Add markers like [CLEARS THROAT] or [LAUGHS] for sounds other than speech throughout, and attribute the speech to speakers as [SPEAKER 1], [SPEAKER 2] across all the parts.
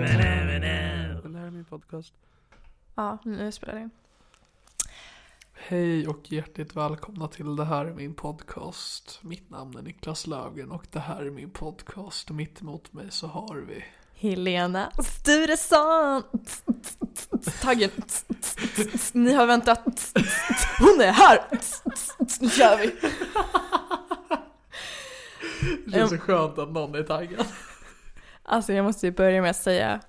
[SPEAKER 1] Det här är min podcast.
[SPEAKER 2] Ja, nu spelar det in.
[SPEAKER 1] Hej och hjärtligt välkomna till Det här är min podcast. Mitt namn är Niklas Löfgren och det här är min podcast. Mitt emot mig så har vi...
[SPEAKER 2] Helena Sturesson! Taggen! Ni har väntat. Hon är här! Nu kör vi!
[SPEAKER 1] Det känns så skönt att någon är taggad.
[SPEAKER 2] Alltså jag måste ju börja med att säga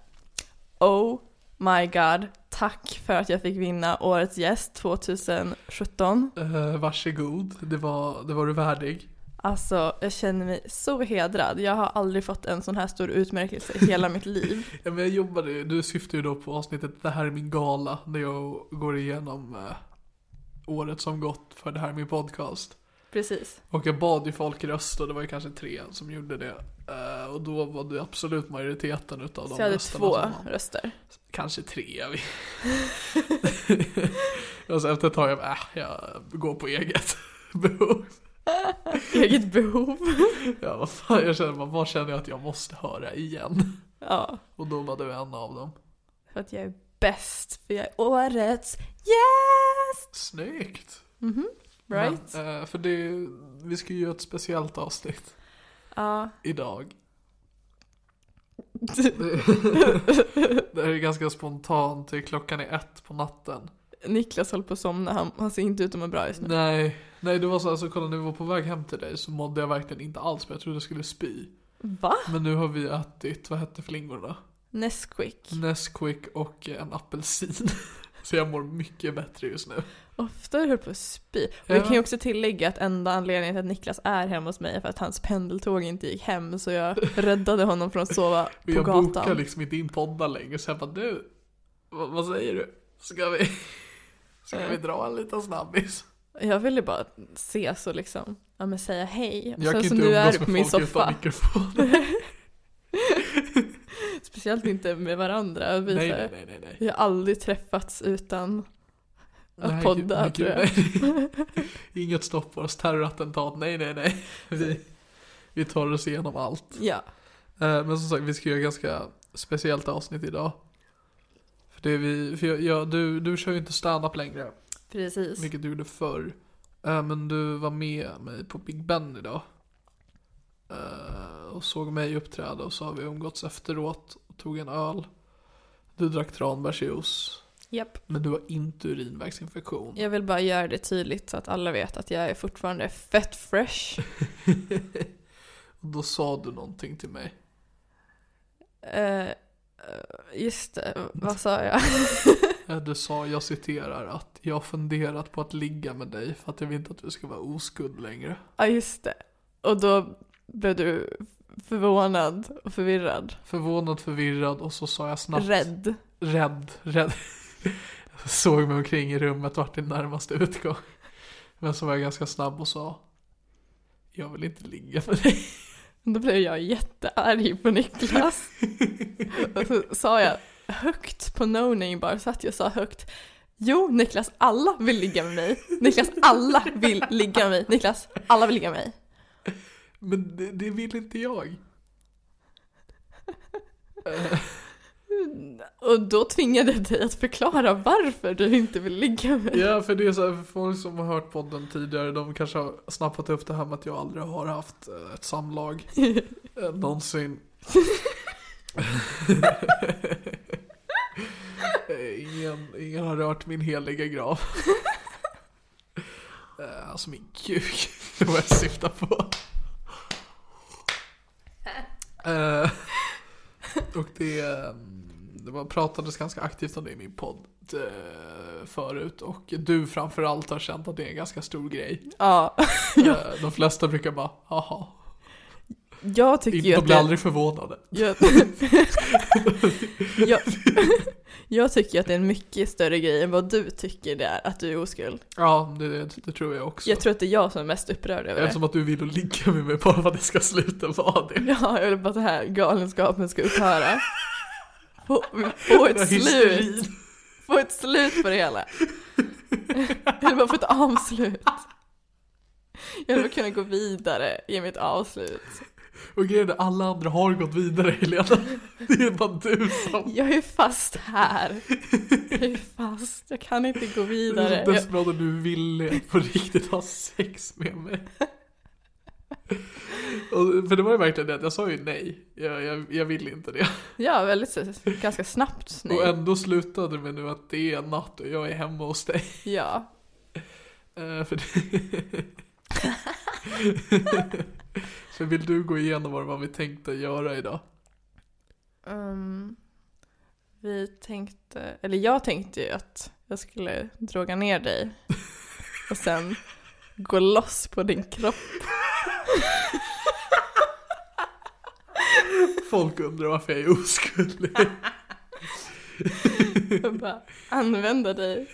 [SPEAKER 2] Oh my god, tack för att jag fick vinna årets gäst 2017.
[SPEAKER 1] Uh, varsågod, det var, det var du värdig.
[SPEAKER 2] Alltså jag känner mig så hedrad. Jag har aldrig fått en sån här stor utmärkelse i hela mitt liv.
[SPEAKER 1] Ja, men jag jobbade, ju- du syftar ju då på avsnittet Det här är min gala, där jag går igenom eh, året som gått för Det här är min podcast.
[SPEAKER 2] Precis.
[SPEAKER 1] Och jag bad ju folk rösta, det var ju kanske tre som gjorde det. Eh, och då var det absolut majoriteten utav de
[SPEAKER 2] Så jag hade
[SPEAKER 1] rösterna
[SPEAKER 2] två
[SPEAKER 1] som vann.
[SPEAKER 2] röster. [LAUGHS]
[SPEAKER 1] Kanske tre. Jag vet. [LAUGHS] och sen efter ett tag, jag, bara, äh, jag går på eget [LAUGHS] behov.
[SPEAKER 2] Eget behov.
[SPEAKER 1] Ja, vad fan, jag känner, bara, vad känner jag att jag måste höra igen?
[SPEAKER 2] Ja.
[SPEAKER 1] Och då var du en av dem.
[SPEAKER 2] För att jag är bäst, för jag är årets gäst!
[SPEAKER 1] Snyggt!
[SPEAKER 2] Right?
[SPEAKER 1] Men, eh, för det, är- vi ska ju göra ett speciellt avsnitt [LAUGHS]
[SPEAKER 2] Ja.
[SPEAKER 1] idag. Det här är ganska spontant, det är klockan är ett på natten.
[SPEAKER 2] Niklas håller på att somna, han, han ser inte ut att må bra just nu.
[SPEAKER 1] Nej, nej det var så alltså kolla när vi var på väg hem till dig så mådde jag verkligen inte alls bra. Jag trodde jag skulle spy.
[SPEAKER 2] Va?
[SPEAKER 1] Men nu har vi ätit, vad hette flingorna?
[SPEAKER 2] Nesquik.
[SPEAKER 1] Mm. Nesquik och en apelsin. [LAUGHS] Så jag mår mycket bättre just nu.
[SPEAKER 2] Ofta höll på att spy. Och
[SPEAKER 1] Ja.
[SPEAKER 2] vi kan ju också tillägga att enda anledningen till att Niklas är hemma hos mig är för att hans pendeltåg inte gick hem så jag
[SPEAKER 1] [LAUGHS]
[SPEAKER 2] räddade honom från att sova
[SPEAKER 1] Men
[SPEAKER 2] på
[SPEAKER 1] jag bokar
[SPEAKER 2] gatan.
[SPEAKER 1] liksom inte in poddar längre så jag bara du, vad, vad säger du? Ska vi, [LAUGHS] ska vi dra en liten snabbis?
[SPEAKER 2] Jag ville bara ses och liksom, ja men säga hej. Och
[SPEAKER 1] Jag kan
[SPEAKER 2] Sen så
[SPEAKER 1] inte
[SPEAKER 2] nu är du
[SPEAKER 1] umgås
[SPEAKER 2] på
[SPEAKER 1] med
[SPEAKER 2] min
[SPEAKER 1] folk utan
[SPEAKER 2] soffa. [LAUGHS]
[SPEAKER 1] mikrofon.
[SPEAKER 2] Speciellt inte med varandra. Vi,
[SPEAKER 1] Nej,
[SPEAKER 2] så här-
[SPEAKER 1] nej, nej, nej. nej.
[SPEAKER 2] vi har aldrig träffats utan Att
[SPEAKER 1] Nej,
[SPEAKER 2] podda,
[SPEAKER 1] gud, nej,
[SPEAKER 2] tror
[SPEAKER 1] gud,
[SPEAKER 2] [LAUGHS]
[SPEAKER 1] nej. Inget stoppar oss, terrorattentat, nej nej nej. Vi, vi tar oss igenom allt.
[SPEAKER 2] Ja,
[SPEAKER 1] Eh, Men som sagt, vi ska göra ganska speciellt avsnitt idag. För det är vi, för jag, jag, du, du kör ju inte stand-up längre,
[SPEAKER 2] precis.
[SPEAKER 1] vilket du gjorde förr. Eh, Men du var med mig på Big Ben idag. Eh, Och såg mig uppträda och så har vi umgåtts efteråt och tog en öl. Du drack tranbärsjuice.
[SPEAKER 2] Japp.
[SPEAKER 1] Men du har inte urinvägsinfektion.
[SPEAKER 2] Jag vill bara göra det tydligt så att alla vet att jag är fortfarande fett
[SPEAKER 1] [LAUGHS]
[SPEAKER 2] fresh.
[SPEAKER 1] Och då sa du någonting till mig.
[SPEAKER 2] Eh, Just det, vad sa
[SPEAKER 1] [LAUGHS]
[SPEAKER 2] jag?
[SPEAKER 1] Eh, Du sa, jag citerar, att jag har funderat på att ligga med dig för att jag vill inte att du ska vara oskuld längre.
[SPEAKER 2] Ja, just det. Och då blev du förvånad och förvirrad.
[SPEAKER 1] Förvånad, förvirrad och så sa jag snabbt
[SPEAKER 2] Rädd.
[SPEAKER 1] Rädd, rädd. Jag Såg mig omkring i rummet vart din närmaste utgång. Men så var jag ganska snabb och sa Jag vill inte ligga med dig.
[SPEAKER 2] Då blev jag jättearg på [LAUGHS] Niklas. Och så sa jag högt på no-name bara så att jag sa högt Jo, Niklas, alla vill ligga med mig. Niklas, alla vill ligga med mig. Niklas, alla vill ligga med mig.
[SPEAKER 1] Men det, det vill inte jag.
[SPEAKER 2] Och då tvingade jag dig att förklara varför du inte vill ligga med mig.
[SPEAKER 1] Ja, för det är så här, för folk som har hört podden tidigare, de kanske har snappat upp det här med att jag aldrig har haft eh, ett samlag. Eh, Någonsin. Eh, ingen, ingen har rört min heliga grav. [LAUGHS] Eh, Alltså min kuk, [LAUGHS] det var jag syftar på. Eh, Och det, eh, det var, pratades ganska aktivt om det i min podd eh, förut och du framförallt har känt att det är en ganska stor grej.
[SPEAKER 2] [LAUGHS] Ja,
[SPEAKER 1] Eh, De flesta brukar bara, haha.
[SPEAKER 2] jag tycker ju
[SPEAKER 1] De
[SPEAKER 2] att
[SPEAKER 1] blir
[SPEAKER 2] det-
[SPEAKER 1] aldrig förvånade.
[SPEAKER 2] Jag, jag, jag tycker att det är en mycket större grej än vad du tycker det är att du är oskuld.
[SPEAKER 1] Ja, det, det tror jag också.
[SPEAKER 2] Jag tror att det är jag som är mest upprörd över det.
[SPEAKER 1] Eftersom att du vill att ligga med mig bara för att det ska sluta vara det.
[SPEAKER 2] [LAUGHS] Ja, jag vill bara att den här galenskapen ska upphöra. Få, få
[SPEAKER 1] Den här
[SPEAKER 2] ett
[SPEAKER 1] hysterin.
[SPEAKER 2] slut. Få ett slut på det hela. Jag vill bara få ett avslut. Jag vill bara kunna gå vidare i mitt avslut.
[SPEAKER 1] Och grejen är alla andra har gått vidare
[SPEAKER 2] [LAUGHS]
[SPEAKER 1] Helena. Det är bara du som
[SPEAKER 2] Jag är fast här. Jag är fast. Jag kan inte gå
[SPEAKER 1] du är
[SPEAKER 2] vidare.
[SPEAKER 1] så
[SPEAKER 2] Jag,
[SPEAKER 1] desperat och du vill att på riktigt ha sex med
[SPEAKER 2] [LAUGHS]
[SPEAKER 1] mig. Och, för det var ju verkligen det, att jag sa ju nej. Jag, jag, jag vill inte det.
[SPEAKER 2] ja, väldigt s- ganska snabbt
[SPEAKER 1] Och
[SPEAKER 2] nu.
[SPEAKER 1] ändå slutade det med nu att det är natt och jag är hemma hos dig.
[SPEAKER 2] Ja.
[SPEAKER 1] Eh, för det... [LAUGHS] så vill du gå igenom vad det var vi tänkte göra idag?
[SPEAKER 2] Ehm, vi tänkte, eller jag tänkte ju att jag skulle droga ner dig och sen gå loss på din kropp.
[SPEAKER 1] Folk undrar varför jag är oskuldig.
[SPEAKER 2] och bara använda dig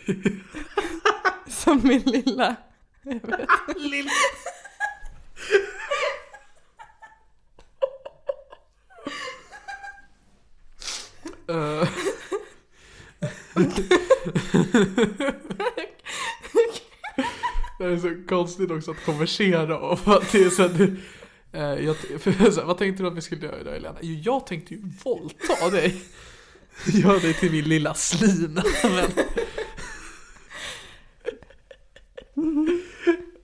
[SPEAKER 2] som min lilla...
[SPEAKER 1] Lill- Eh, det är så konstigt också att konversera om. Att det är så att, eh, jag, för, så här, vad tänkte du att vi skulle göra idag Elena? Jo, jag tänkte ju våldta dig. Gör dig till min lilla slina. Men,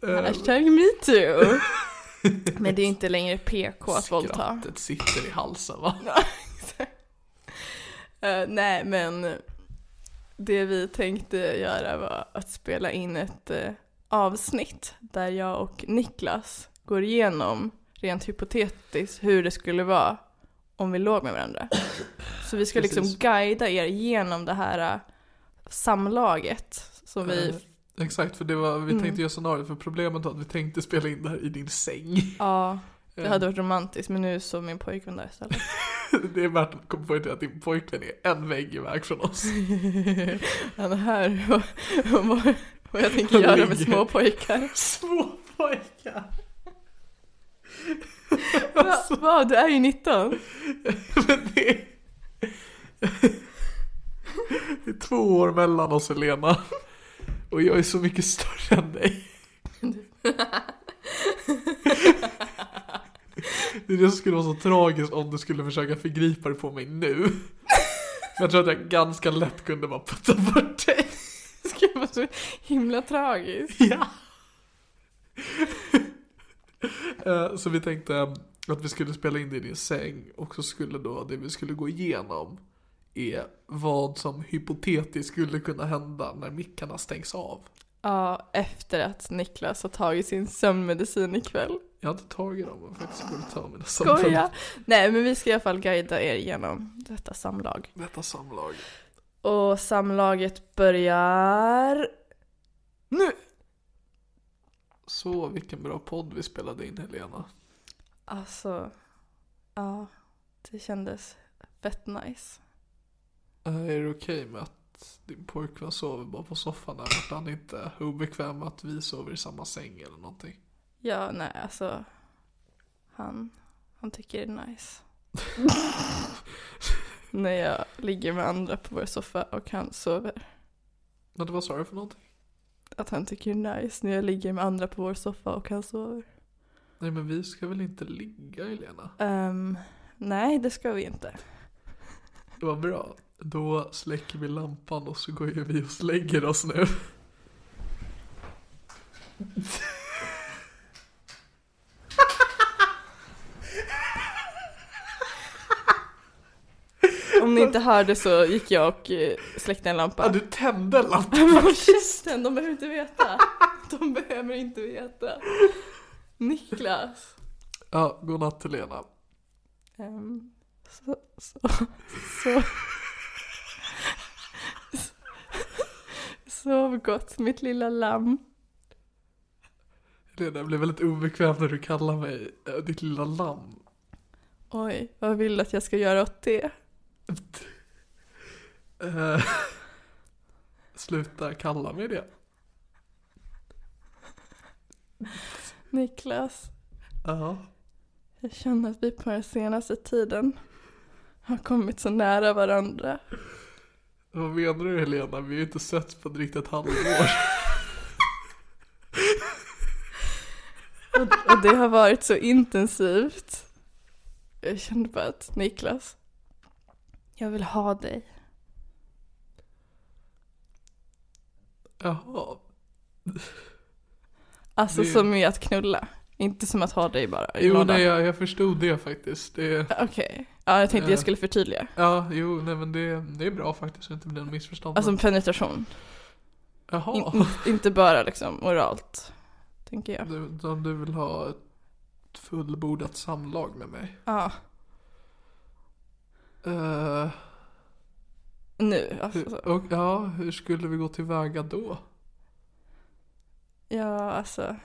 [SPEAKER 1] Eh,
[SPEAKER 2] Hashtag metoo. Men det är ju inte längre PK att våldta.
[SPEAKER 1] Skrattet sitter i halsen va?
[SPEAKER 2] [LAUGHS] Eh, nej, men det vi tänkte göra var att spela in ett eh, avsnitt där jag och Niklas går igenom rent hypotetiskt hur det skulle vara om vi låg med varandra. Så vi ska liksom
[SPEAKER 1] Precis.
[SPEAKER 2] guida er genom det här eh, samlaget som vi... Mm.
[SPEAKER 1] Eh, Exakt, för det var, vi tänkte göra scenariot för problemet var att vi tänkte spela in det här i din säng.
[SPEAKER 2] Ja, det
[SPEAKER 1] Mm.
[SPEAKER 2] hade varit romantiskt men nu sov min pojkvän där istället.
[SPEAKER 1] Eh, [LAUGHS] Det är värt att komma på att din pojkvän är en vägg iväg från oss. [LAUGHS]
[SPEAKER 2] [LAUGHS] Han hör vad, vad, vad jag tänker
[SPEAKER 1] Han
[SPEAKER 2] göra med
[SPEAKER 1] ligger.
[SPEAKER 2] små pojkar.
[SPEAKER 1] [LAUGHS] Små pojkar!
[SPEAKER 2] Va,
[SPEAKER 1] Alltså.
[SPEAKER 2] va, du är ju 19.
[SPEAKER 1] Men det är... det är två år mellan oss Helena. Och jag är så mycket större än dig. Det är det som skulle vara så tragiskt om du skulle försöka förgripa dig på mig nu. Jag tror att jag ganska lätt kunde bara putta bort dig.
[SPEAKER 2] Det skulle vara så himla tragiskt.
[SPEAKER 1] Ja. [LAUGHS] Eh, Så vi tänkte eh, att vi skulle spela in det i din säng och så skulle då det vi skulle gå igenom är vad som hypotetiskt skulle kunna hända när mickarna stängs av.
[SPEAKER 2] Ja, efter att Niklas har tagit sin sömnmedicin ikväll.
[SPEAKER 1] Jag hade tagit dem och faktiskt borde ta mina samlag.
[SPEAKER 2] Skoja! Nej, men vi ska i alla fall guida er genom detta samlag.
[SPEAKER 1] Detta samlag.
[SPEAKER 2] Och samlaget börjar... Nu!
[SPEAKER 1] Så vilken bra podd vi spelade in Helena.
[SPEAKER 2] Alltså, ja, det kändes fett nice.
[SPEAKER 1] Eh, Är det okej med att din pojkvän sover bara på soffan där? Att han inte är obekväm med att vi sover i samma säng eller någonting?
[SPEAKER 2] Ja, nej, alltså, han, han tycker det är
[SPEAKER 1] [LAUGHS]
[SPEAKER 2] nice. När jag ligger med andra på vår soffa och han sover.
[SPEAKER 1] Men det var sorry för någonting?
[SPEAKER 2] Att han tycker det är nice när jag ligger med andra på vår soffa och han sover.
[SPEAKER 1] Nej men vi ska väl inte ligga Helena?
[SPEAKER 2] Ehm, nej, det ska vi inte.
[SPEAKER 1] Det var bra. Då släcker vi lampan och så går ju vi och lägger oss nu.
[SPEAKER 2] Om ni inte hörde så gick jag och eh, släckte en
[SPEAKER 1] Ja,
[SPEAKER 2] [LAUGHS] lampa.
[SPEAKER 1] du tände lampan!
[SPEAKER 2] Håll käften, de behöver inte
[SPEAKER 1] [LAUGHS]
[SPEAKER 2] veta. De behöver inte veta. Niklas.
[SPEAKER 1] Ja, godnatt Helena.
[SPEAKER 2] Ehm, så, så,
[SPEAKER 1] [LAUGHS]
[SPEAKER 2] så. Sov gott mitt lilla lamm.
[SPEAKER 1] Helena, jag blir väldigt obekväm när du kallar mig eh, ditt lilla lamm.
[SPEAKER 2] Oj, vad vill du att jag ska göra åt det?
[SPEAKER 1] Eh, [LAUGHS] Sluta kalla mig det.
[SPEAKER 2] Niklas,
[SPEAKER 1] Ja.
[SPEAKER 2] jag känner att vi på den senaste tiden har kommit så nära varandra.
[SPEAKER 1] Vad menar du Helena? Vi har ju inte setts på drygt ett [LAUGHS] halvår.
[SPEAKER 2] Och, och det har varit så intensivt. Jag kände bara att Niklas, jag vill ha dig.
[SPEAKER 1] Jaha.
[SPEAKER 2] Alltså
[SPEAKER 1] Det-
[SPEAKER 2] som i att knulla, inte som att ha dig bara i
[SPEAKER 1] Jo,
[SPEAKER 2] lådan.
[SPEAKER 1] nej, jag, jag förstod det faktiskt. Det,
[SPEAKER 2] Okej, ja, jag tänkte
[SPEAKER 1] Ja.
[SPEAKER 2] jag skulle förtydliga.
[SPEAKER 1] ja, jo, nej men det, det är bra faktiskt så det inte blir något missförstånd.
[SPEAKER 2] Alltså penetration, In,
[SPEAKER 1] Jaha.
[SPEAKER 2] in- inte bara liksom oralt, tänker jag.
[SPEAKER 1] Du, om du vill ha ett fullbordat samlag med mig.
[SPEAKER 2] Ja,
[SPEAKER 1] Eh,
[SPEAKER 2] nu alltså.
[SPEAKER 1] hur,
[SPEAKER 2] så.
[SPEAKER 1] och, ja, hur skulle vi gå tillväga då?
[SPEAKER 2] Ja, alltså.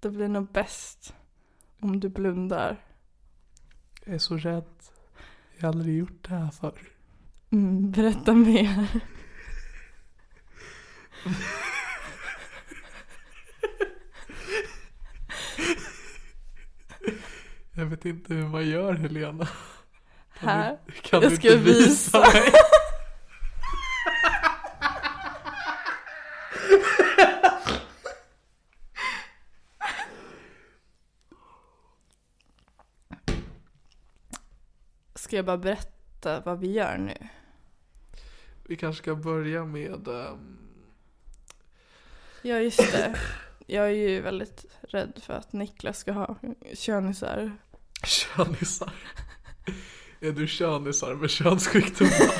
[SPEAKER 2] Det blir nog bäst om du blundar.
[SPEAKER 1] Jag är så rädd. Jag har aldrig gjort det här förr.
[SPEAKER 2] Mm, berätta mer.
[SPEAKER 1] Jag vet inte hur man gör Helena. Kan
[SPEAKER 2] Här.
[SPEAKER 1] Du, kan
[SPEAKER 2] Jag
[SPEAKER 1] du
[SPEAKER 2] ska
[SPEAKER 1] inte
[SPEAKER 2] visa.
[SPEAKER 1] visa mig?
[SPEAKER 2] Ska jag bara berätta vad vi gör nu?
[SPEAKER 1] Vi kanske ska börja med... ehm,
[SPEAKER 2] Ja, just det. Jag är ju väldigt rädd för att Niklas ska ha könisar.
[SPEAKER 1] Könisar. Är du könisar med könssjukdomar?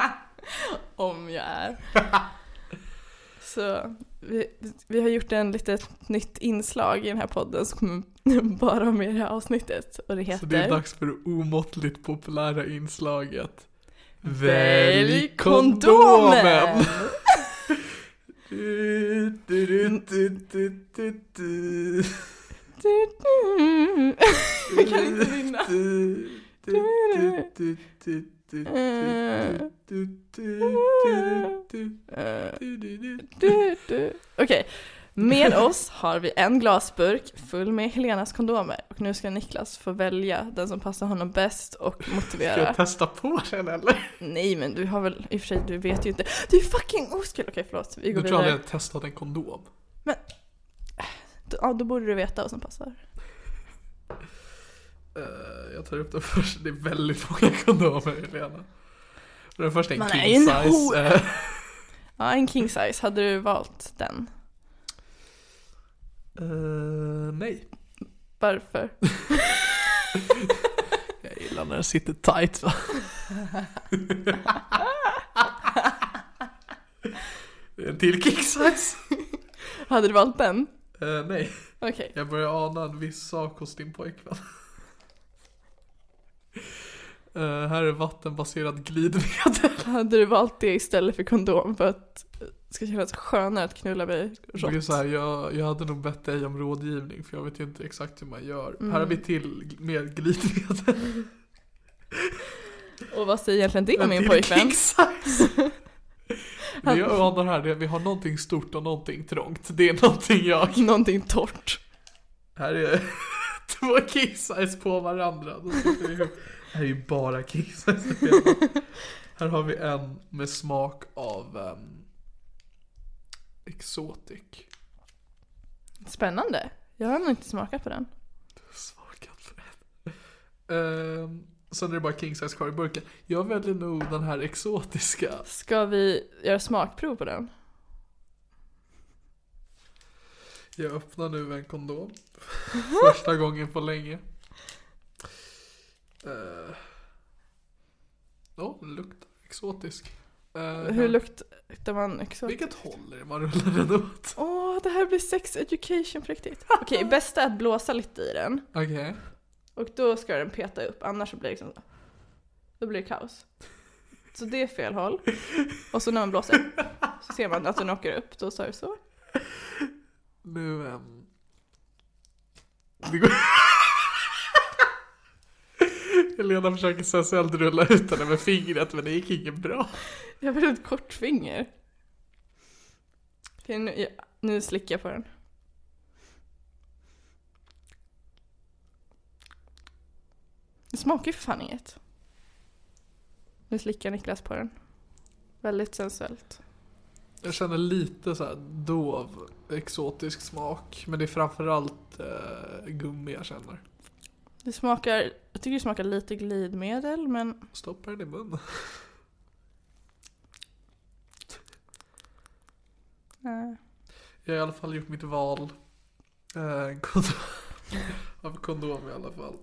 [SPEAKER 2] [LAUGHS] Om jag är. Så vi, vi har gjort en lite nytt inslag i den här podden som [LAUGHS] kommer bara vara med i det här avsnittet. Och det heter...
[SPEAKER 1] Så
[SPEAKER 2] [LAUGHS]
[SPEAKER 1] det är dags för det omåttligt populära inslaget.
[SPEAKER 2] Välj kondomen!
[SPEAKER 1] Du, du, du, du, du, du, du.
[SPEAKER 2] Jag kan inte
[SPEAKER 1] [LAUGHS]
[SPEAKER 2] vinna.
[SPEAKER 1] Typ, Du, du, du, du, du, du, du, du, du, du, du, du, du, du.
[SPEAKER 2] Eh, Du, du. Okej. Med oss har vi en glasburk full med Helenas kondomer och nu ska Niklas få välja den som passar honom bäst och
[SPEAKER 1] Ska
[SPEAKER 2] motivera.
[SPEAKER 1] jag testa på den eller?
[SPEAKER 2] Nej men du har väl, i och för sig du vet ju inte. Du är fucking oskuld! Okej förlåt, vi
[SPEAKER 1] Du
[SPEAKER 2] går
[SPEAKER 1] tror aldrig
[SPEAKER 2] vidare.
[SPEAKER 1] jag har testat en kondom?
[SPEAKER 2] Ja då borde du veta vad som passar.
[SPEAKER 1] Eh, jag tar upp den [LAUGHS] först. Det är väldigt många kondomer Helena. Och Den första är en
[SPEAKER 2] Man
[SPEAKER 1] king
[SPEAKER 2] är ju en
[SPEAKER 1] size.
[SPEAKER 2] hora.
[SPEAKER 1] eh,
[SPEAKER 2] Ja en king size, hade du valt den?
[SPEAKER 1] eh, nej.
[SPEAKER 2] Varför?
[SPEAKER 1] Jag gillar när den sitter tight va. Det är en till king size.
[SPEAKER 2] Hade du valt den?
[SPEAKER 1] Eh, nej.
[SPEAKER 2] Okej.
[SPEAKER 1] Jag börjar ana en viss sak hos din pojkvän. Eh, här är vattenbaserat glidmedel.
[SPEAKER 2] Hade du valt det istället för kondom för att det ska kännas skönare att knulla mig
[SPEAKER 1] Det är
[SPEAKER 2] rått?
[SPEAKER 1] så här, jag, jag hade nog bett dig om rådgivning för jag vet ju inte exakt hur man gör. Här har
[SPEAKER 2] Mm.
[SPEAKER 1] vi till med glidmedel.
[SPEAKER 2] Och vad säger egentligen det om min
[SPEAKER 1] Till
[SPEAKER 2] pojkvän?
[SPEAKER 1] king size. Det jag anar här det är att [LAUGHS] vi har någonting stort och någonting trångt. Det är någonting
[SPEAKER 2] [LAUGHS]
[SPEAKER 1] jag...
[SPEAKER 2] Någonting torrt.
[SPEAKER 1] Här är [LAUGHS] två king size på varandra. Då sitter vi ihop. Här är ju bara king size. [LAUGHS] Här har vi en med smak av um, exotic.
[SPEAKER 2] Spännande. Jag har nog inte smakat på den.
[SPEAKER 1] Smakat för um, Sen är det bara king size kvar i burken. Jag väljer nog den här exotiska.
[SPEAKER 2] Ska vi göra smakprov på den?
[SPEAKER 1] Jag öppnar nu
[SPEAKER 2] [LAUGHS]
[SPEAKER 1] en kondom. Första gången på länge. Ja, uh, den luktar exotisk. Eh,
[SPEAKER 2] Hur luktar man exakt?
[SPEAKER 1] Vilket håll är det man rullar den åt?
[SPEAKER 2] Åh, det här blir sex education på riktigt. Okej, bästa är att blåsa lite i den.
[SPEAKER 1] Okej.
[SPEAKER 2] Och då ska den peta upp, annars så blir det liksom... Då blir det kaos. Så det är fel håll. Och så när man blåser så ser man att den åker upp, då så är det så.
[SPEAKER 1] Nu... ehm, Det går... [LAUGHS] Helena försöker sensuellt rulla ut henne med fingret men det gick inget bra.
[SPEAKER 2] Jag har väldigt kort finger. Okej, nu, ja, nu slickar jag på den. Det smakar ju för fan inget. Nu slickar Niklas på den. Väldigt sensuellt.
[SPEAKER 1] Jag känner lite så här dov exotisk smak men det är framförallt eh, gummi jag känner.
[SPEAKER 2] Det smakar, jag tycker det smakar lite glidmedel men
[SPEAKER 1] Stoppa den i munnen.
[SPEAKER 2] nej.
[SPEAKER 1] Jag har i alla fall gjort mitt val. Eh, kondom. [LAUGHS] Av kondom i alla fall.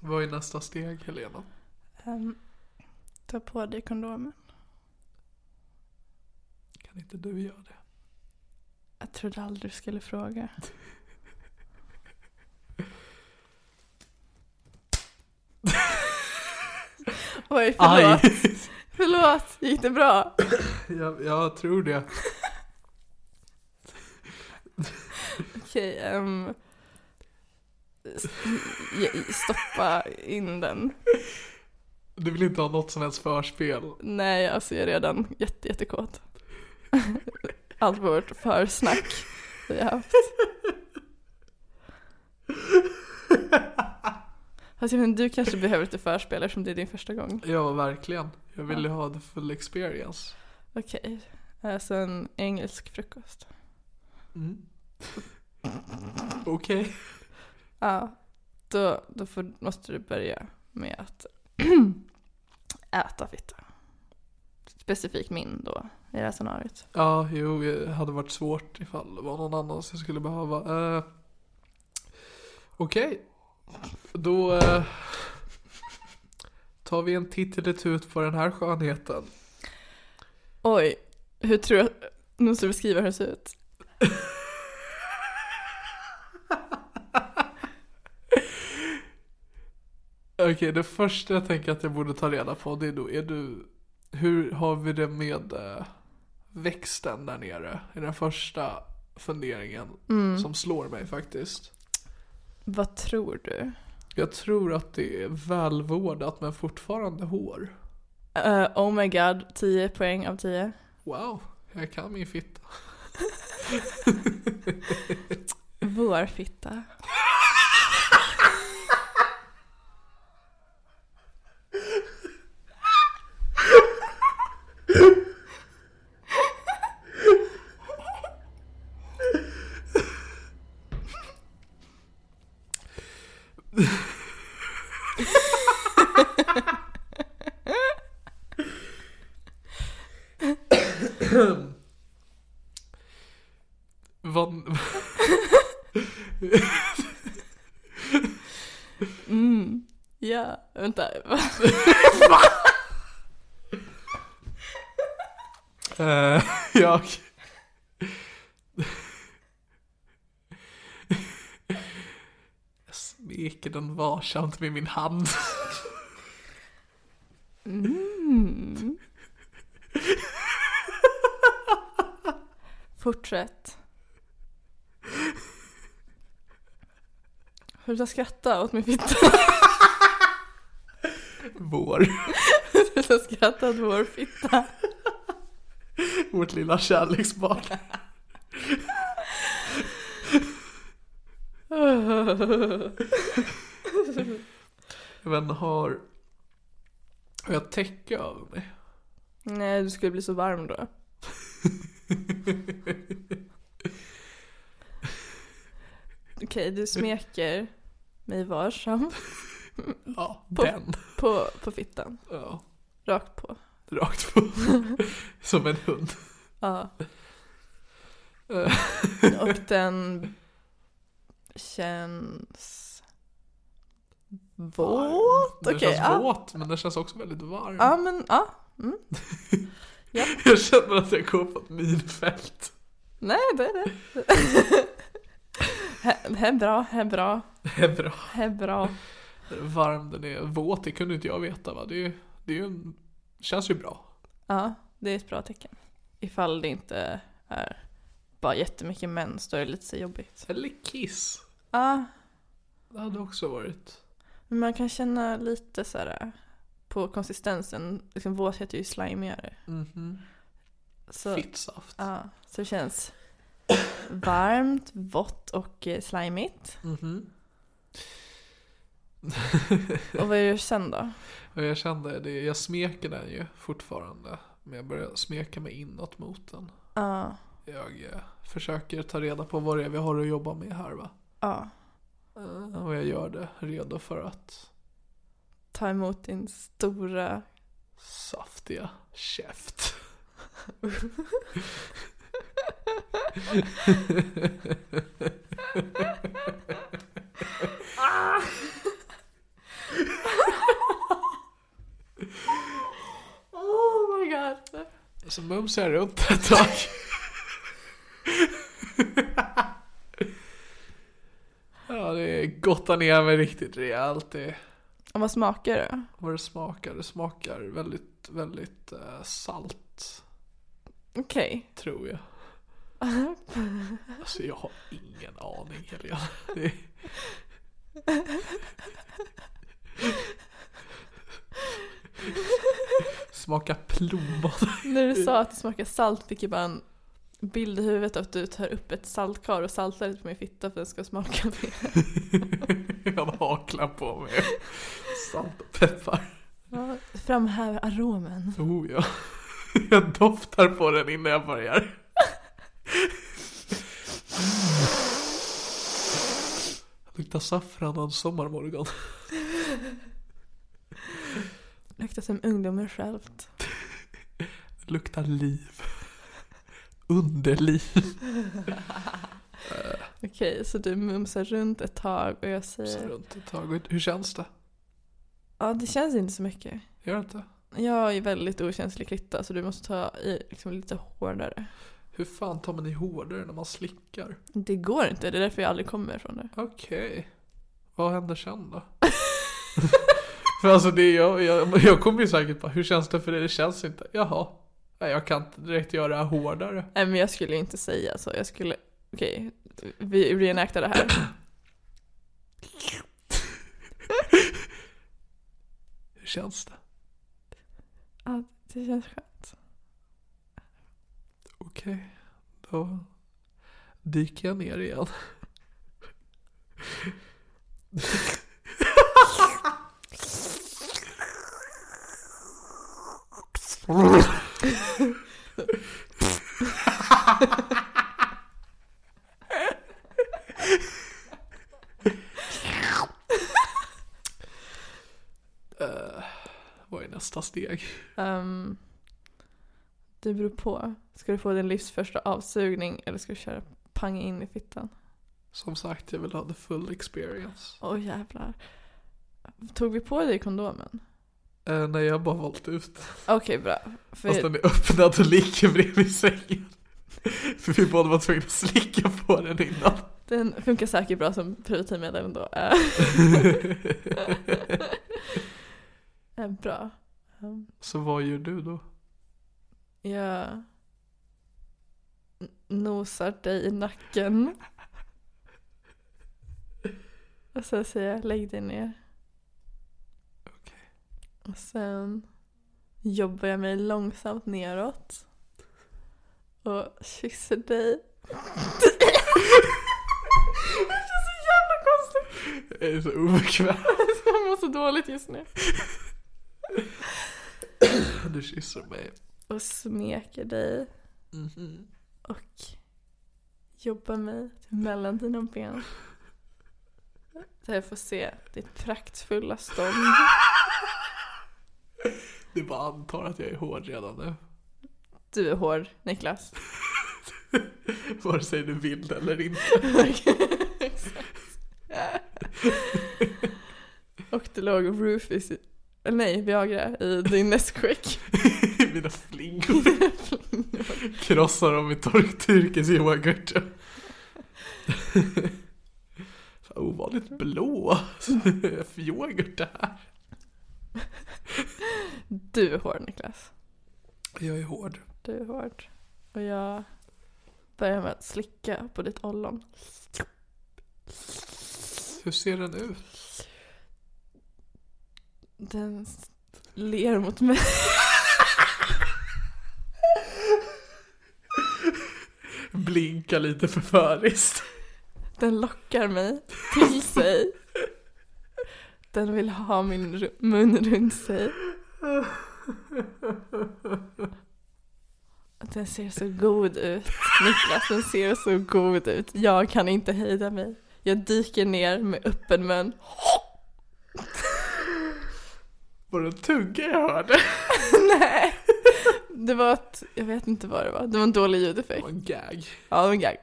[SPEAKER 1] Vad är nästa steg Helena?
[SPEAKER 2] Ehm, ta på dig kondomen.
[SPEAKER 1] Kan inte du göra det?
[SPEAKER 2] Jag trodde aldrig du skulle fråga. [LAUGHS] Oj, förlåt. Förlåt, gick det bra?
[SPEAKER 1] jag, jag tror det.
[SPEAKER 2] Okej, ehm, s- ge- stoppa in den.
[SPEAKER 1] Du vill inte ha något som helst [LAUGHS] förspel.
[SPEAKER 2] Nej, alltså jag är redan jätte, jättekåt. Allt vårt försnack vi har haft. Fast jag menar, du kanske behöver lite förspel eftersom det är din första gång.
[SPEAKER 1] Ja, verkligen. Jag ville ha the full experience.
[SPEAKER 2] Okej, eh, sen engelsk frukost.
[SPEAKER 1] Mm. Okej.
[SPEAKER 2] Ja, då, då får, måste du börja med att [CLEARS THROAT] äta fitta. Specifikt min då, i det här scenariot.
[SPEAKER 1] Ja, jo, det hade varit svårt ifall det var någon annan som jag skulle behöva. Eh, Okej. Då eh, tar vi en tittelut på den här skönheten. [LAUGHS]
[SPEAKER 2] Oj, hur tror jag... Nu måste du beskriva hur det ser ut.
[SPEAKER 1] Okej, det första jag tänker att jag borde ta reda på det är då, är du, hur har vi det med eh, växten där nere? Det är den första funderingen som slår mig faktiskt.
[SPEAKER 2] Mm. Vad tror du?
[SPEAKER 1] Jag tror att det är välvårdat men fortfarande hår.
[SPEAKER 2] Eh, oh my god, 10 poäng av 10.
[SPEAKER 1] Wow, jag kan min fitta.
[SPEAKER 2] Vår fitta.
[SPEAKER 1] Vad... [LAUGHS]
[SPEAKER 2] Mm. Ja, vänta. va?
[SPEAKER 1] [LAUGHS] Eh, jag... steker den varsamt med min hand. [LAUGHS]
[SPEAKER 2] Mm. Fortsätt. Sluta skratta åt min fitta. [LAUGHS]
[SPEAKER 1] Vår,
[SPEAKER 2] Sluta skratta åt vår fitta.
[SPEAKER 1] vårt lilla kärleksbarn. Men har... Har jag täcke över mig?
[SPEAKER 2] Nej, du skulle bli så varm då. Okej, du smeker mig varsamt
[SPEAKER 1] Ja,
[SPEAKER 2] På-
[SPEAKER 1] den.
[SPEAKER 2] på, på fittan.
[SPEAKER 1] Ja,
[SPEAKER 2] Rakt på.
[SPEAKER 1] rakt på. [LAUGHS] Som en hund.
[SPEAKER 2] Ja.
[SPEAKER 1] Eh.
[SPEAKER 2] Och den känns våt. Okej,
[SPEAKER 1] Den känns
[SPEAKER 2] ja.
[SPEAKER 1] våt, men den känns också väldigt varm.
[SPEAKER 2] Ja, men ja.
[SPEAKER 1] Jag känner att jag går på ett minfält.
[SPEAKER 2] [LAUGHS] Nej, det är det. [LAUGHS] He- he bra, he bra,
[SPEAKER 1] Det är bra.
[SPEAKER 2] he bra.
[SPEAKER 1] Varm den är. Våt, det kunde inte jag veta va? Det, är ju- det är ju en, känns ju bra.
[SPEAKER 2] Ja, det är ett bra tecken. Ifall det inte är bara jättemycket mens, då är det lite så jobbigt.
[SPEAKER 1] Eller kiss.
[SPEAKER 2] Ja,
[SPEAKER 1] Det hade också varit.
[SPEAKER 2] men man kan känna lite så här eh, på konsistensen. Liksom, våthet är ju slimigare.
[SPEAKER 1] Mhm.
[SPEAKER 2] Så,
[SPEAKER 1] Fittsaft.
[SPEAKER 2] ja, så det känns varmt, vått och eh, slimigt.
[SPEAKER 1] Mhm.
[SPEAKER 2] Och vad gör sen då?
[SPEAKER 1] Och jag kände det, jag smeker den ju fortfarande. Men jag börjar smeka mig inåt mot den.
[SPEAKER 2] Ja,
[SPEAKER 1] Jag eh, försöker ta reda på vad det är vi har att jobba med här va.
[SPEAKER 2] ja.
[SPEAKER 1] Eh, Och jag gör det redo för att
[SPEAKER 2] Ta emot din stora...
[SPEAKER 1] saftiga käft.
[SPEAKER 2] Ah! [LAUGHS] Oh my god.
[SPEAKER 1] Så mumsar jag runt ett [LAUGHS] tag. ja, det gottar ner mig riktigt rejält. Det,
[SPEAKER 2] Och vad smakar det?
[SPEAKER 1] vad det smakar, det smakar väldigt, väldigt eh, salt,
[SPEAKER 2] [LAUGHS] Okej.
[SPEAKER 1] tror jag. Alltså jag har ingen aning, Helena. Det är... Smaka plommon.
[SPEAKER 2] När du sa att det smakar salt fick jag bara en bild i huvudet av att du tar upp ett saltkar och saltar lite på min fitta för att den ska smaka mer.
[SPEAKER 1] [LAUGHS] jag har haklar på mig. Salt och peppar.
[SPEAKER 2] Ja, Framhäver aromen.
[SPEAKER 1] Oh ja. [LAUGHS] Jag doftar på den innan jag börjar. Luktar saffran och en sommarmorgon.
[SPEAKER 2] Luktar som ungdomen självt.
[SPEAKER 1] Luktar liv. Underliv.
[SPEAKER 2] Okej, så du mumsar runt ett tag och jag
[SPEAKER 1] Så
[SPEAKER 2] säger...
[SPEAKER 1] runt ett tag. Hur känns det?
[SPEAKER 2] Ja, det känns inte så mycket.
[SPEAKER 1] Gör det inte?
[SPEAKER 2] Jag är väldigt okänslig klitta så du måste ta i liksom lite hårdare.
[SPEAKER 1] Hur fan tar man i hårdare när man slickar?
[SPEAKER 2] Det går inte, det är därför jag aldrig kommer från det.
[SPEAKER 1] Okej. Vad händer sen då? För alltså det, jag, jag, jag kommer ju säkert bara, hur känns det för dig? Det känns inte. Jaha. Nej, jag kan inte direkt göra hårdare.
[SPEAKER 2] [LAUGHS] Nej men jag skulle inte säga så. Jag skulle... Okej, vi reenactar det här.
[SPEAKER 1] Hur känns det?
[SPEAKER 2] Ja, det känns skönt.
[SPEAKER 1] Okej, då dyker jag ner igen. Eh, Vad är nästa steg?
[SPEAKER 2] Um, det beror på. Ska du få din livs första avsugning eller ska du köra pang in i fittan?
[SPEAKER 1] Som sagt, jag vill ha the full experience.
[SPEAKER 2] Åh jävlar. Tog vi på dig kondomen?
[SPEAKER 1] Eh, nej, jag har bara valt ut den.
[SPEAKER 2] Okej bra. För
[SPEAKER 1] Fast den är öppnad [LAUGHS] och ligger bredvid sängen. För vi båda var tvungna att slicka på den innan.
[SPEAKER 2] Den funkar säkert bra som preventivmedel ändå. Eh, bra. Ehm,
[SPEAKER 1] Så vad gör du då?
[SPEAKER 2] Jag n- nosar dig i nacken. Och sen säger jag lägg dig ner.
[SPEAKER 1] Okej.
[SPEAKER 2] Och sen jobbar jag mig långsamt neråt. Och kysser dig. Det känns så jävla konstigt.
[SPEAKER 1] Jag är så obekväm.
[SPEAKER 2] [LAUGHS]
[SPEAKER 1] [LAUGHS]
[SPEAKER 2] Jag mår så dåligt just nu.
[SPEAKER 1] Du kysser mig.
[SPEAKER 2] Och smeker dig.
[SPEAKER 1] Mhm.
[SPEAKER 2] Och jobbar mig till mellan dina ben. Där jag får se ditt praktfulla [LAUGHS] stånd.
[SPEAKER 1] Du bara antar att jag är hård redan nu. [LAUGHS]
[SPEAKER 2] Du är hård, [LAUGHS] Niklas.
[SPEAKER 1] Vare sig du vill eller inte.
[SPEAKER 2] Exakt. Och det låg Rufus, i- eller nej, Viagra i din Nesquik.
[SPEAKER 1] [LAUGHS] Mina flingor krossar dem i torkturkis yoghurt. [LAUGHS] Fan, ovanligt blå yoghurt det här.
[SPEAKER 2] Du är hård, Niklas.
[SPEAKER 1] Jag är hård.
[SPEAKER 2] Du är hård. Och jag börjar med att slicka på ditt ollon.
[SPEAKER 1] Hur ser den ut?
[SPEAKER 2] Den s- ler mot mig.
[SPEAKER 1] Blinka lite förföriskt.
[SPEAKER 2] Den lockar mig till sig. Den vill ha min ru- mun runt sig. Den ser så god ut, Niklas. Den ser så god ut. Jag kan inte hejda mig. Jag dyker ner med öppen mun.
[SPEAKER 1] Var det en tugga jag hörde?
[SPEAKER 2] [LAUGHS] Nej! Det var ett, jag vet inte vad det var. Det var en dålig
[SPEAKER 1] Det
[SPEAKER 2] ljudeffekt.
[SPEAKER 1] var en gag.
[SPEAKER 2] Ja, det var en gag.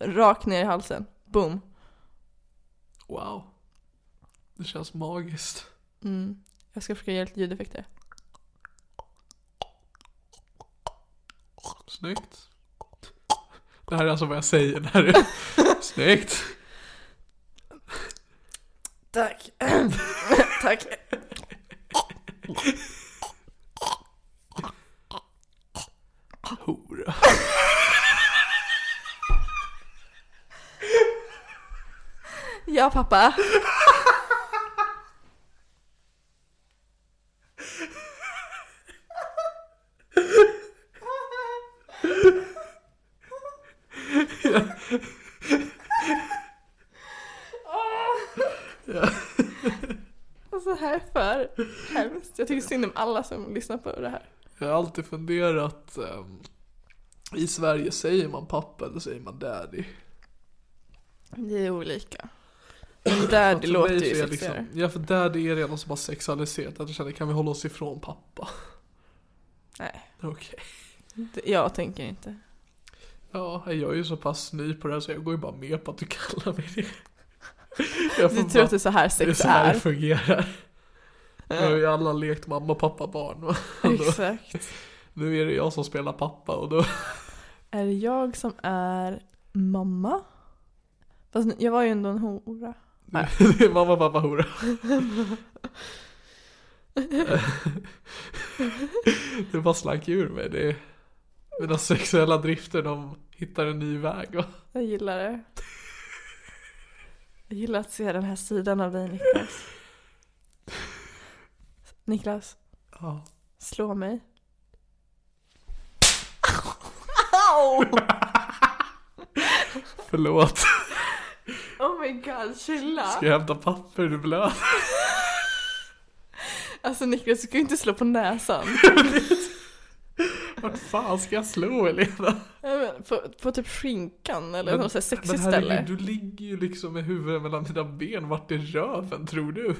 [SPEAKER 2] Rakt ner i halsen. Boom.
[SPEAKER 1] Wow. Det känns magiskt.
[SPEAKER 2] Mm. Jag ska försöka göra lite ljudeffekter.
[SPEAKER 1] Snyggt. Det här är alltså vad jag säger när du... Snyggt.
[SPEAKER 2] [LAUGHS] Tack. Tack.
[SPEAKER 1] Hora.
[SPEAKER 2] Ja, pappa. Alltså det här är för hemskt. Jag tycker synd om alla som lyssnar på det här.
[SPEAKER 1] Jag har alltid funderat. ehm, I Sverige säger man pappa eller säger man daddy?
[SPEAKER 2] Det är olika. Men där det
[SPEAKER 1] För
[SPEAKER 2] låter
[SPEAKER 1] Alltså, mig
[SPEAKER 2] ju
[SPEAKER 1] så är
[SPEAKER 2] sexigare.
[SPEAKER 1] det Ja, för daddy är redan så bara sexualiserat. Att jag känner, kan vi hålla oss ifrån pappa?
[SPEAKER 2] Nej,
[SPEAKER 1] Okej. liksom-
[SPEAKER 2] det- jag tänker inte.
[SPEAKER 1] Ja, jag är ju så pass ny på det här så jag går ju bara med på att du kallar mig
[SPEAKER 2] [LAUGHS]
[SPEAKER 1] det. Jag
[SPEAKER 2] Du
[SPEAKER 1] får
[SPEAKER 2] tror
[SPEAKER 1] bara-
[SPEAKER 2] att det är så här
[SPEAKER 1] det är
[SPEAKER 2] sex
[SPEAKER 1] så här det
[SPEAKER 2] är.
[SPEAKER 1] fungerar. Nu har ju alla lekt mamma, pappa, barn. va? Då,
[SPEAKER 2] Exakt.
[SPEAKER 1] nu är det jag som spelar pappa och då...
[SPEAKER 2] Är det jag som är mamma? Fast nu- jag var ju ändå en hora. Nej.
[SPEAKER 1] [LAUGHS] det är mamma, pappa, hora. [LAUGHS] det bara slank ur mig. Det är... Mina sexuella drifter, de hittar en ny väg. va?
[SPEAKER 2] Jag gillar det. Jag gillar att se den här sidan av dig Niklas. Niklas,
[SPEAKER 1] Ja.
[SPEAKER 2] slå mig.
[SPEAKER 1] [LAUGHS] Förlåt.
[SPEAKER 2] Oh my god, chilla!
[SPEAKER 1] Ska jag hämta papper? Är Du blöd.
[SPEAKER 2] Alltså Niklas, du ska ju inte slå på näsan.
[SPEAKER 1] Vart fan ska jag slå Elena?
[SPEAKER 2] Jag menar, på, på typ skinkan eller något sånt här
[SPEAKER 1] men
[SPEAKER 2] sexigt
[SPEAKER 1] herregud,
[SPEAKER 2] ställe.
[SPEAKER 1] du ligger ju liksom med huvudet mellan dina ben. Vart är röven tror du?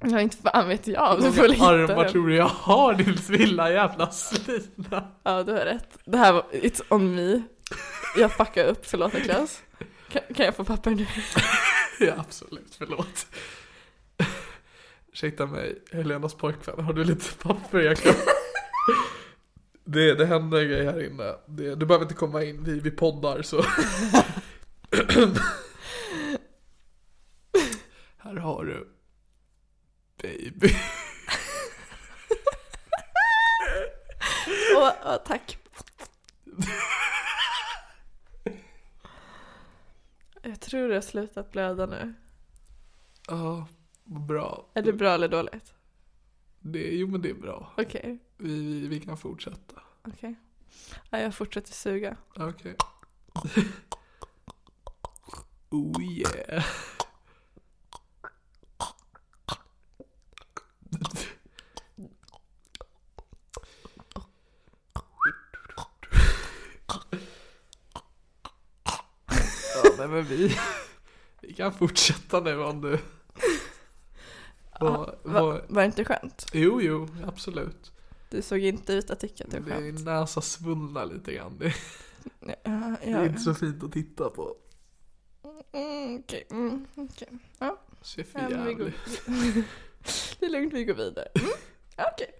[SPEAKER 2] Ja, inte fan vet jag. Du
[SPEAKER 1] Hur
[SPEAKER 2] får väl
[SPEAKER 1] många
[SPEAKER 2] hitta
[SPEAKER 1] armar
[SPEAKER 2] den.
[SPEAKER 1] tror du jag har din lilla jävla slina?
[SPEAKER 2] Ja, du har rätt. Det här var, it's on me. Jag fuckar upp, förlåt
[SPEAKER 1] [LAUGHS]
[SPEAKER 2] Niklas. Kan, kan jag få papper nu? [LAUGHS]
[SPEAKER 1] Ja, absolut, förlåt. Ursäkta mig, Helenas pojkvän, har du lite papper jag kan... Det, det händer grejer här inne. Det, du behöver inte komma in, vi, vi poddar så. här har du. Baby.
[SPEAKER 2] Och, och tack. Jag tror det har slutat blöda nu.
[SPEAKER 1] Ja, vad bra.
[SPEAKER 2] Är det bra eller dåligt?
[SPEAKER 1] Det, jo men det är bra.
[SPEAKER 2] Okej.
[SPEAKER 1] Vi, vi, vi kan fortsätta.
[SPEAKER 2] Okej. Ja, jag fortsätter suga.
[SPEAKER 1] Okej. [LAUGHS] oh yeah. ja, nej, men vi, vi kan fortsätta nu
[SPEAKER 2] [LAUGHS]
[SPEAKER 1] om du... Vad-
[SPEAKER 2] Va,
[SPEAKER 1] vad-
[SPEAKER 2] Var det inte skönt?
[SPEAKER 1] Jo, jo, absolut.
[SPEAKER 2] Du såg inte ut att tycka att det var
[SPEAKER 1] Det
[SPEAKER 2] skönt.
[SPEAKER 1] är näsa svullna lite grann. Det
[SPEAKER 2] Ja,
[SPEAKER 1] är
[SPEAKER 2] ja.
[SPEAKER 1] inte så fint att titta på.
[SPEAKER 2] Mm, Okej. Mm, okej.
[SPEAKER 1] Ser för
[SPEAKER 2] Ja, men vi [LAUGHS] går...
[SPEAKER 1] jävligt.
[SPEAKER 2] Det är lugnt, vi går vidare. Mm, ja, Okej.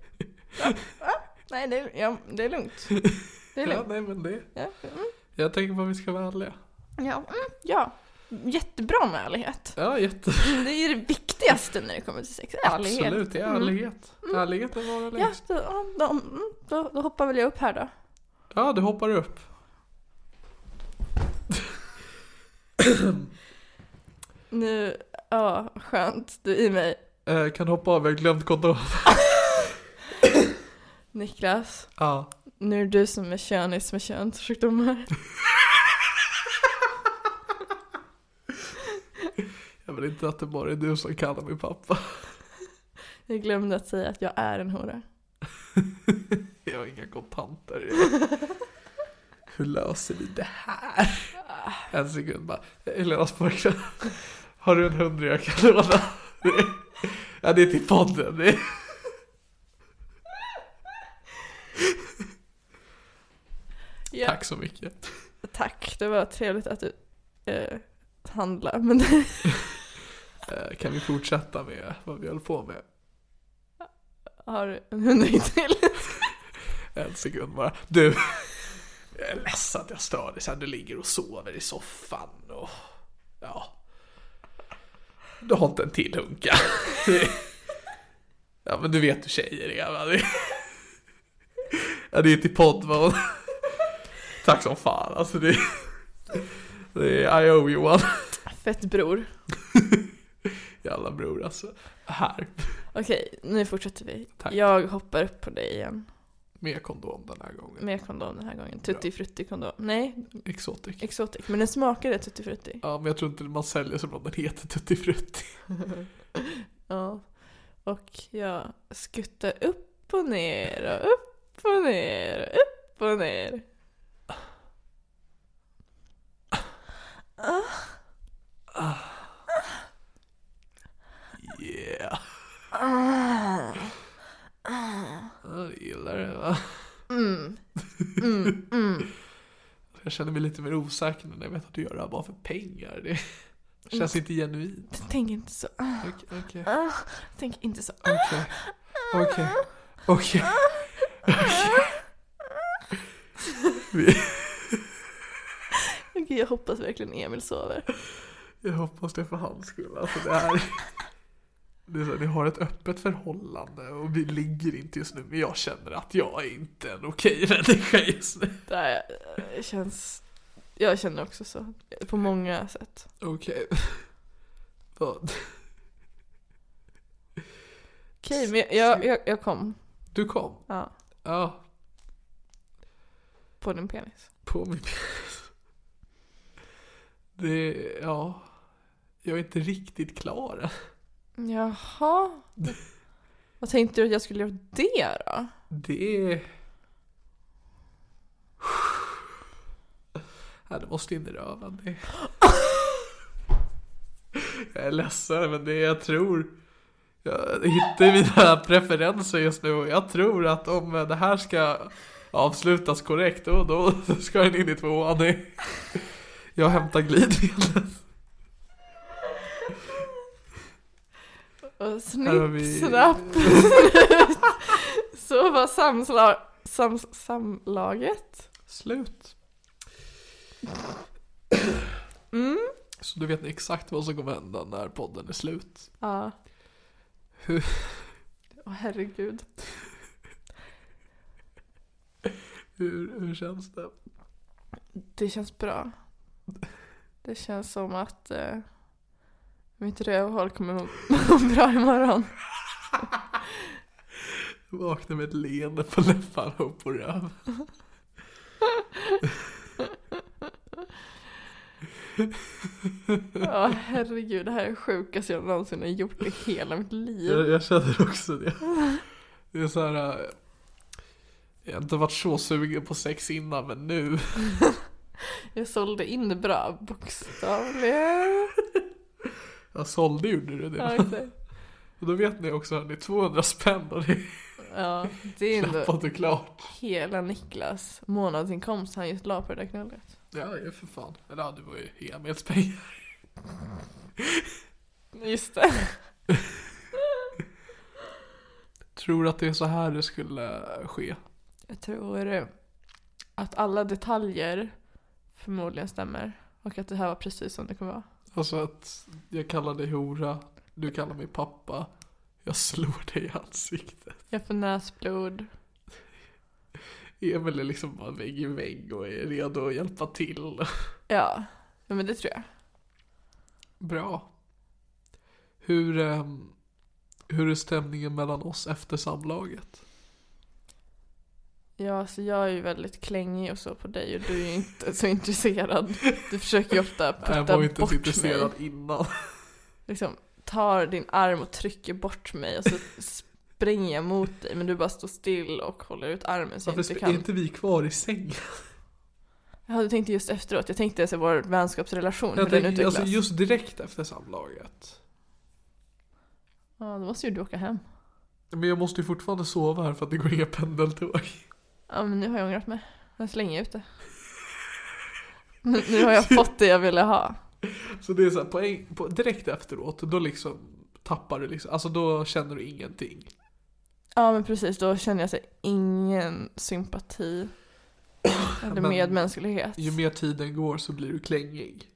[SPEAKER 2] Ja, ja. Nej, det är, ja, det är lugnt. Det är
[SPEAKER 1] Ja,
[SPEAKER 2] lugnt.
[SPEAKER 1] nej men det.
[SPEAKER 2] Ja, mm,
[SPEAKER 1] Jag tänker på att vi ska vara ärliga.
[SPEAKER 2] ja, mm, ja. Jättebra med ärlighet.
[SPEAKER 1] Ja, jätte...
[SPEAKER 2] Det är ju det viktigaste när det kommer till sex. Ärlighet.
[SPEAKER 1] Absolut, det är
[SPEAKER 2] Mm.
[SPEAKER 1] ärlighet. Ärlighet är vara
[SPEAKER 2] Ja,
[SPEAKER 1] längst.
[SPEAKER 2] då, ja, då, mm, då, då hoppar väl jag upp här då.
[SPEAKER 1] Ja, du hoppar upp.
[SPEAKER 2] Nu, ja, skönt. Du är i mig. [LAUGHS]
[SPEAKER 1] Eh, kan hoppa av, jag har glömt kontroll.
[SPEAKER 2] Niklas, [LAUGHS]
[SPEAKER 1] Ja.
[SPEAKER 2] nu är det du som är könis med könssjukdomar.
[SPEAKER 1] Jag vill inte att det bara är du som kallar mig pappa.
[SPEAKER 2] Jag glömde att säga att jag är en hora.
[SPEAKER 1] Jag har inga kontanter. Hur löser vi det här? En sekund bara. Helena Sparkman, har du en hundring jag kan låna? Det- Ja, det är till podden. Det är...
[SPEAKER 2] Ja,
[SPEAKER 1] Tack så mycket.
[SPEAKER 2] Tack, det var trevligt att du eh, handlade. Men
[SPEAKER 1] Eh, Kan vi fortsätta med vad vi höll på med?
[SPEAKER 2] har du en hundring till?
[SPEAKER 1] En sekund bara. Du, jag är ledsen att jag stör dig. Så här, Du ligger och sover i soffan och... Ja. Du har inte en till hunka. Ja men du vet hur tjejer är va? Det- Ja det är till podd va? Tack som fan alltså det... Det är I owe you one.
[SPEAKER 2] Fett bror.
[SPEAKER 1] Jävla bror alltså. Här,
[SPEAKER 2] Okej, nu fortsätter vi.
[SPEAKER 1] Tack.
[SPEAKER 2] Jag hoppar upp på dig igen.
[SPEAKER 1] med kondom den här gången.
[SPEAKER 2] Med kondom den här gången.
[SPEAKER 1] Bra.
[SPEAKER 2] Tutti frutti kondom. Nej,
[SPEAKER 1] Exotic.
[SPEAKER 2] exotic. Men den smakade tutti frutti.
[SPEAKER 1] Ja men jag tror inte man säljer så bra den heter Tutti Frutti.
[SPEAKER 2] [LAUGHS] Ja. Och jag skuttar upp och ner och upp och ner och upp och ner. Ah.
[SPEAKER 1] Yeah.
[SPEAKER 2] Ah.
[SPEAKER 1] Ja, du gillar det va?
[SPEAKER 2] Mm. Mm, mm.
[SPEAKER 1] Jag känner mig lite mer osäker nu när jag vet att du gör det här bara för pengar. Det känns inte genuint.
[SPEAKER 2] Tänk inte så.
[SPEAKER 1] Okej, okej,
[SPEAKER 2] Tänk inte så.
[SPEAKER 1] okej. Okej, okej. Vi-
[SPEAKER 2] [LAUGHS] Okej, jag hoppas verkligen Emil sover.
[SPEAKER 1] Jag hoppas det för hans skull. Alltså det här... Det är så här, ni har ett öppet förhållande och vi ligger inte just nu men jag känner att jag är inte en okej människa just nu.
[SPEAKER 2] Det här eh, känns... Jag känner också så. På många sätt.
[SPEAKER 1] Okej. [LAUGHS] Vad?
[SPEAKER 2] Okej, men jag, jag, jag kom.
[SPEAKER 1] Du kom?
[SPEAKER 2] Ja,
[SPEAKER 1] Ja,
[SPEAKER 2] på din penis.
[SPEAKER 1] på min penis. Det, ja. Jag är inte riktigt klar än.
[SPEAKER 2] Jaha. Vad tänkte du att jag skulle göra det då?
[SPEAKER 1] Det är... [SIGHS] Ja, det måste in i röven. Det... [LAUGHS] Jag är ledsen, men det jag tror... Jag hittar mina preferenser just nu och jag tror att om det här ska avslutas korrekt, då, då ska den in i tvåan. [LAUGHS] Det- Jag hämtar glidmedlet.
[SPEAKER 2] Och
[SPEAKER 1] Här har
[SPEAKER 2] snipp,
[SPEAKER 1] vi-
[SPEAKER 2] [LAUGHS] snapp. Så var samslag,
[SPEAKER 1] [CLEARS THROAT] Slut.
[SPEAKER 2] Mm.
[SPEAKER 1] Så du vet ni exakt vad som kommer hända när podden är slut.
[SPEAKER 2] Ja.
[SPEAKER 1] Hur-
[SPEAKER 2] Åh herregud.
[SPEAKER 1] Hur, hur känns det? [LAUGHS]
[SPEAKER 2] Det känns bra. Det känns som att eh, mitt rövhål kommer må må [LAUGHS] bra imorgon.
[SPEAKER 1] Jag vaknar med ett leende på läpparna och på röven.
[SPEAKER 2] Ja, herregud. Det här är det sjukaste jag någonsin har gjort i hela mitt liv.
[SPEAKER 1] Jag, jag känner också det. [LAUGHS] Det är så här. eh, Jag har inte varit så sugen på sex innan men nu.
[SPEAKER 2] Jag sålde in det bra, bokstavligen.
[SPEAKER 1] Jag sålde gjorde du det.
[SPEAKER 2] Ja, exakt.
[SPEAKER 1] Och då vet ni också hörni, 200 spänn och det är
[SPEAKER 2] ja, det är ändå
[SPEAKER 1] klappat och klart.
[SPEAKER 2] hela Niklas månadsinkomst han just la på det där knullet.
[SPEAKER 1] Ja, det är för fan. Eller ja, det var ju Emils pengar.
[SPEAKER 2] Just det.
[SPEAKER 1] Tror att det är så här det skulle ske?
[SPEAKER 2] Jag tror eh, att alla detaljer förmodligen stämmer. Och att det här var precis som det kommer vara.
[SPEAKER 1] Alltså att jag kallar dig hora, du kallar mig pappa, jag slår dig i ansiktet.
[SPEAKER 2] Jag får näsblod.
[SPEAKER 1] Emil är liksom bara vägg i vägg och är redo att hjälpa till.
[SPEAKER 2] Ja, ja, men det tror jag.
[SPEAKER 1] Bra. Hur, ehm, hur är stämningen mellan oss efter samlaget?
[SPEAKER 2] Ja, alltså jag är ju väldigt klängig och så på dig och du är ju inte så intresserad. Du försöker ju [LAUGHS] ofta putta
[SPEAKER 1] Jag Äh, var inte
[SPEAKER 2] bort
[SPEAKER 1] så intresserad
[SPEAKER 2] mig.
[SPEAKER 1] innan.
[SPEAKER 2] Liksom tar din arm och trycker bort mig och så springer jag mot dig men du bara står still och håller ut armen så jag
[SPEAKER 1] Varför
[SPEAKER 2] inte
[SPEAKER 1] är
[SPEAKER 2] kan.
[SPEAKER 1] inte vi kvar i sängen?
[SPEAKER 2] Ja, du tänkte just efteråt. Jag tänkte alltså vår vänskapsrelation, hur
[SPEAKER 1] Jag
[SPEAKER 2] den
[SPEAKER 1] tänkte,
[SPEAKER 2] utvecklas.
[SPEAKER 1] alltså just direkt efter samlaget.
[SPEAKER 2] Ja, då måste ju du åka hem.
[SPEAKER 1] Men jag måste ju fortfarande sova här för att det går inga pendeltåg. [LAUGHS]
[SPEAKER 2] Ja, men nu har jag ångrat mig. Nu slänger jag ut det. Nu, nu
[SPEAKER 1] [LAUGHS]
[SPEAKER 2] har jag fått det jag ville ha.
[SPEAKER 1] Så det är så här, på en, på, direkt efteråt, då liksom tappar du liksom, alltså då känner du ingenting.
[SPEAKER 2] Ja men precis, då känner jag så här, ingen
[SPEAKER 1] [COUGHS]
[SPEAKER 2] sympati eller
[SPEAKER 1] Men-
[SPEAKER 2] medmänsklighet.
[SPEAKER 1] Ju mer tiden går så blir du klängig.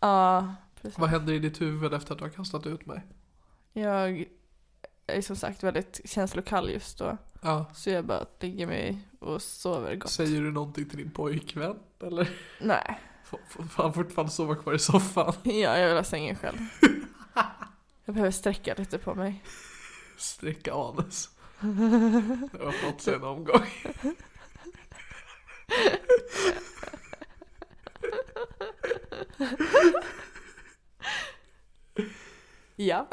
[SPEAKER 2] Ja, precis.
[SPEAKER 1] Vad händer i ditt huvud efter att du har kastat ut mig?
[SPEAKER 2] Jag är som sagt väldigt känslokall just då.
[SPEAKER 1] Ja.
[SPEAKER 2] Så jag bara ligger mig och sover gott.
[SPEAKER 1] Säger du någonting till din pojkvän eller?
[SPEAKER 2] Nej,
[SPEAKER 1] Får- Får får han fortfarande sova kvar i soffan?
[SPEAKER 2] ja, jag vill ha sängen
[SPEAKER 1] [LAUGHS]
[SPEAKER 2] själv. Jag behöver sträcka lite på mig.
[SPEAKER 1] Sträcka anus. Det har fått sig en omgång.
[SPEAKER 2] [LAUGHS] Ja.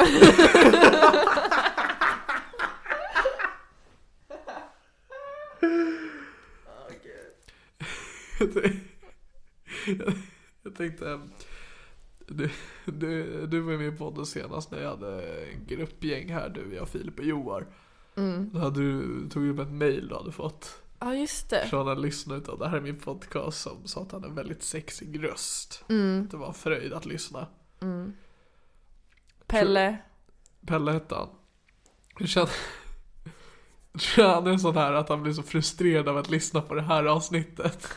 [SPEAKER 1] Jag tänk- Jag tänkte, ehm, du, du, du var ju med i podden senast när jag hade en gruppgäng här, du, jag, Filip och Joar.
[SPEAKER 2] Mm.
[SPEAKER 1] Då hade du, tog du upp ett mail du hade fått
[SPEAKER 2] Ja just det.
[SPEAKER 1] från en lyssnare utav det här är min podcast som sa att han har en väldigt sexig röst.
[SPEAKER 2] Mm,
[SPEAKER 1] Det var en fröjd att lyssna.
[SPEAKER 2] mm. Pelle.
[SPEAKER 1] Pelle hette han. Jag känner, jag tror han är sån här att han blir så frustrerad av att lyssna på det här avsnittet.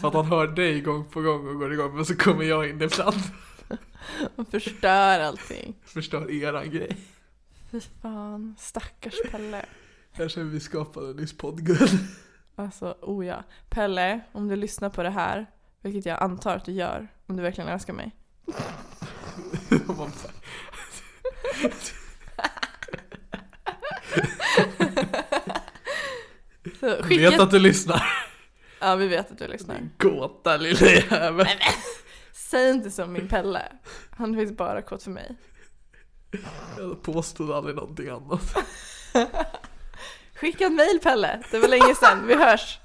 [SPEAKER 1] För att han hör dig gång på gång och går igång men så kommer jag in ibland.
[SPEAKER 2] Och [LAUGHS] förstör allting.
[SPEAKER 1] Förstör eran grej.
[SPEAKER 2] Fy fan, stackars Pelle.
[SPEAKER 1] Jag känner vi skapade nyss poddguld.
[SPEAKER 2] Alltså, oh ja. Pelle, om du lyssnar på det här, vilket jag antar att du gör, om du verkligen älskar mig. [LAUGHS]
[SPEAKER 1] Och man bara,
[SPEAKER 2] Så skicka...
[SPEAKER 1] Vet att du lyssnar.
[SPEAKER 2] Ja, vi vet att du lyssnar.
[SPEAKER 1] Gåta lilla jävel.
[SPEAKER 2] Säg inte som min Pelle. Han är faktiskt bara kåt för mig. [LAUGHS]
[SPEAKER 1] Jag påstod aldrig någonting annat.
[SPEAKER 2] Skicka en mail Pelle, det var länge sedan. Vi hörs.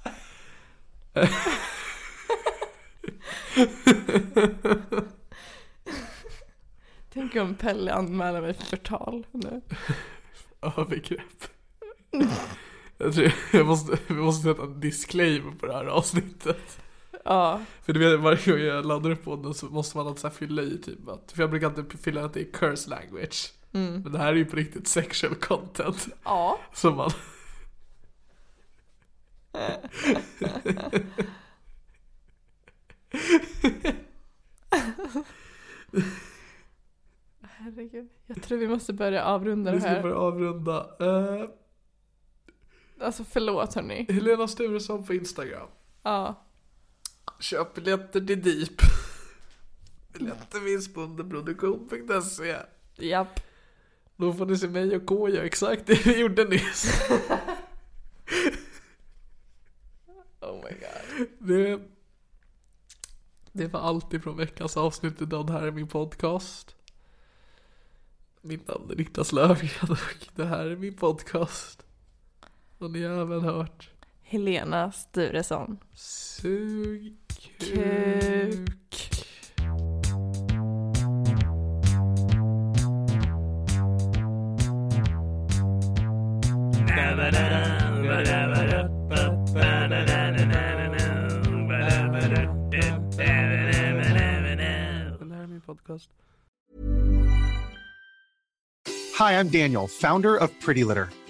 [SPEAKER 2] [LAUGHS] Tänk om Pelle anmäler mig för förtal nu.
[SPEAKER 1] Övergrepp. Jag tror, jag måste, vi måste sätta en disclaimer på det här avsnittet.
[SPEAKER 2] Ja,
[SPEAKER 1] För du vet varje gång jag laddar upp podden så måste man alltid så här fylla i typ att, för jag brukar alltid fylla att det är curse language.
[SPEAKER 2] Mm.
[SPEAKER 1] Men det här är ju [LAUGHS] på riktigt sexual content.
[SPEAKER 2] ja.
[SPEAKER 1] Som man...
[SPEAKER 2] Herregud. Jag tror vi måste börja avrunda det
[SPEAKER 1] Vi ska
[SPEAKER 2] här.
[SPEAKER 1] börja liksom avrunda. Eh,
[SPEAKER 2] Alltså förlåt hörni.
[SPEAKER 1] Helena Sturesson på Instagram.
[SPEAKER 2] Ja.
[SPEAKER 1] Köp biljetter till Deep. [LAUGHS] Biljetter finns på underproduktion.se.
[SPEAKER 2] Japp.
[SPEAKER 1] Då får ni se mig och K göra exakt det vi gjorde nyss.
[SPEAKER 2] [LAUGHS] Oh my god.
[SPEAKER 1] Det, det var allt ifrån veckans avsnitt idag. Det här är min podcast. Mitt namn är Niklas Löfgren och det här är min podcast. Och ni har även hört
[SPEAKER 2] Helena Sturesson.
[SPEAKER 1] Sug
[SPEAKER 2] Kuk.
[SPEAKER 1] kuk. Det här är min podcast.
[SPEAKER 3] Hi, I'm Daniel, founder of Pretty Litter.